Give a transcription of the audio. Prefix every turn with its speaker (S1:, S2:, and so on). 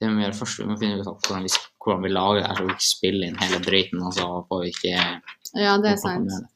S1: Det må vi gjøre først. Vi må finne ut av hvordan vi, hvordan vi lager det her, så vi ikke spiller inn hele drøyten, altså, og så får vi ikke
S2: Ja,
S1: får
S2: det er
S1: ikke
S2: sant.
S1: med det.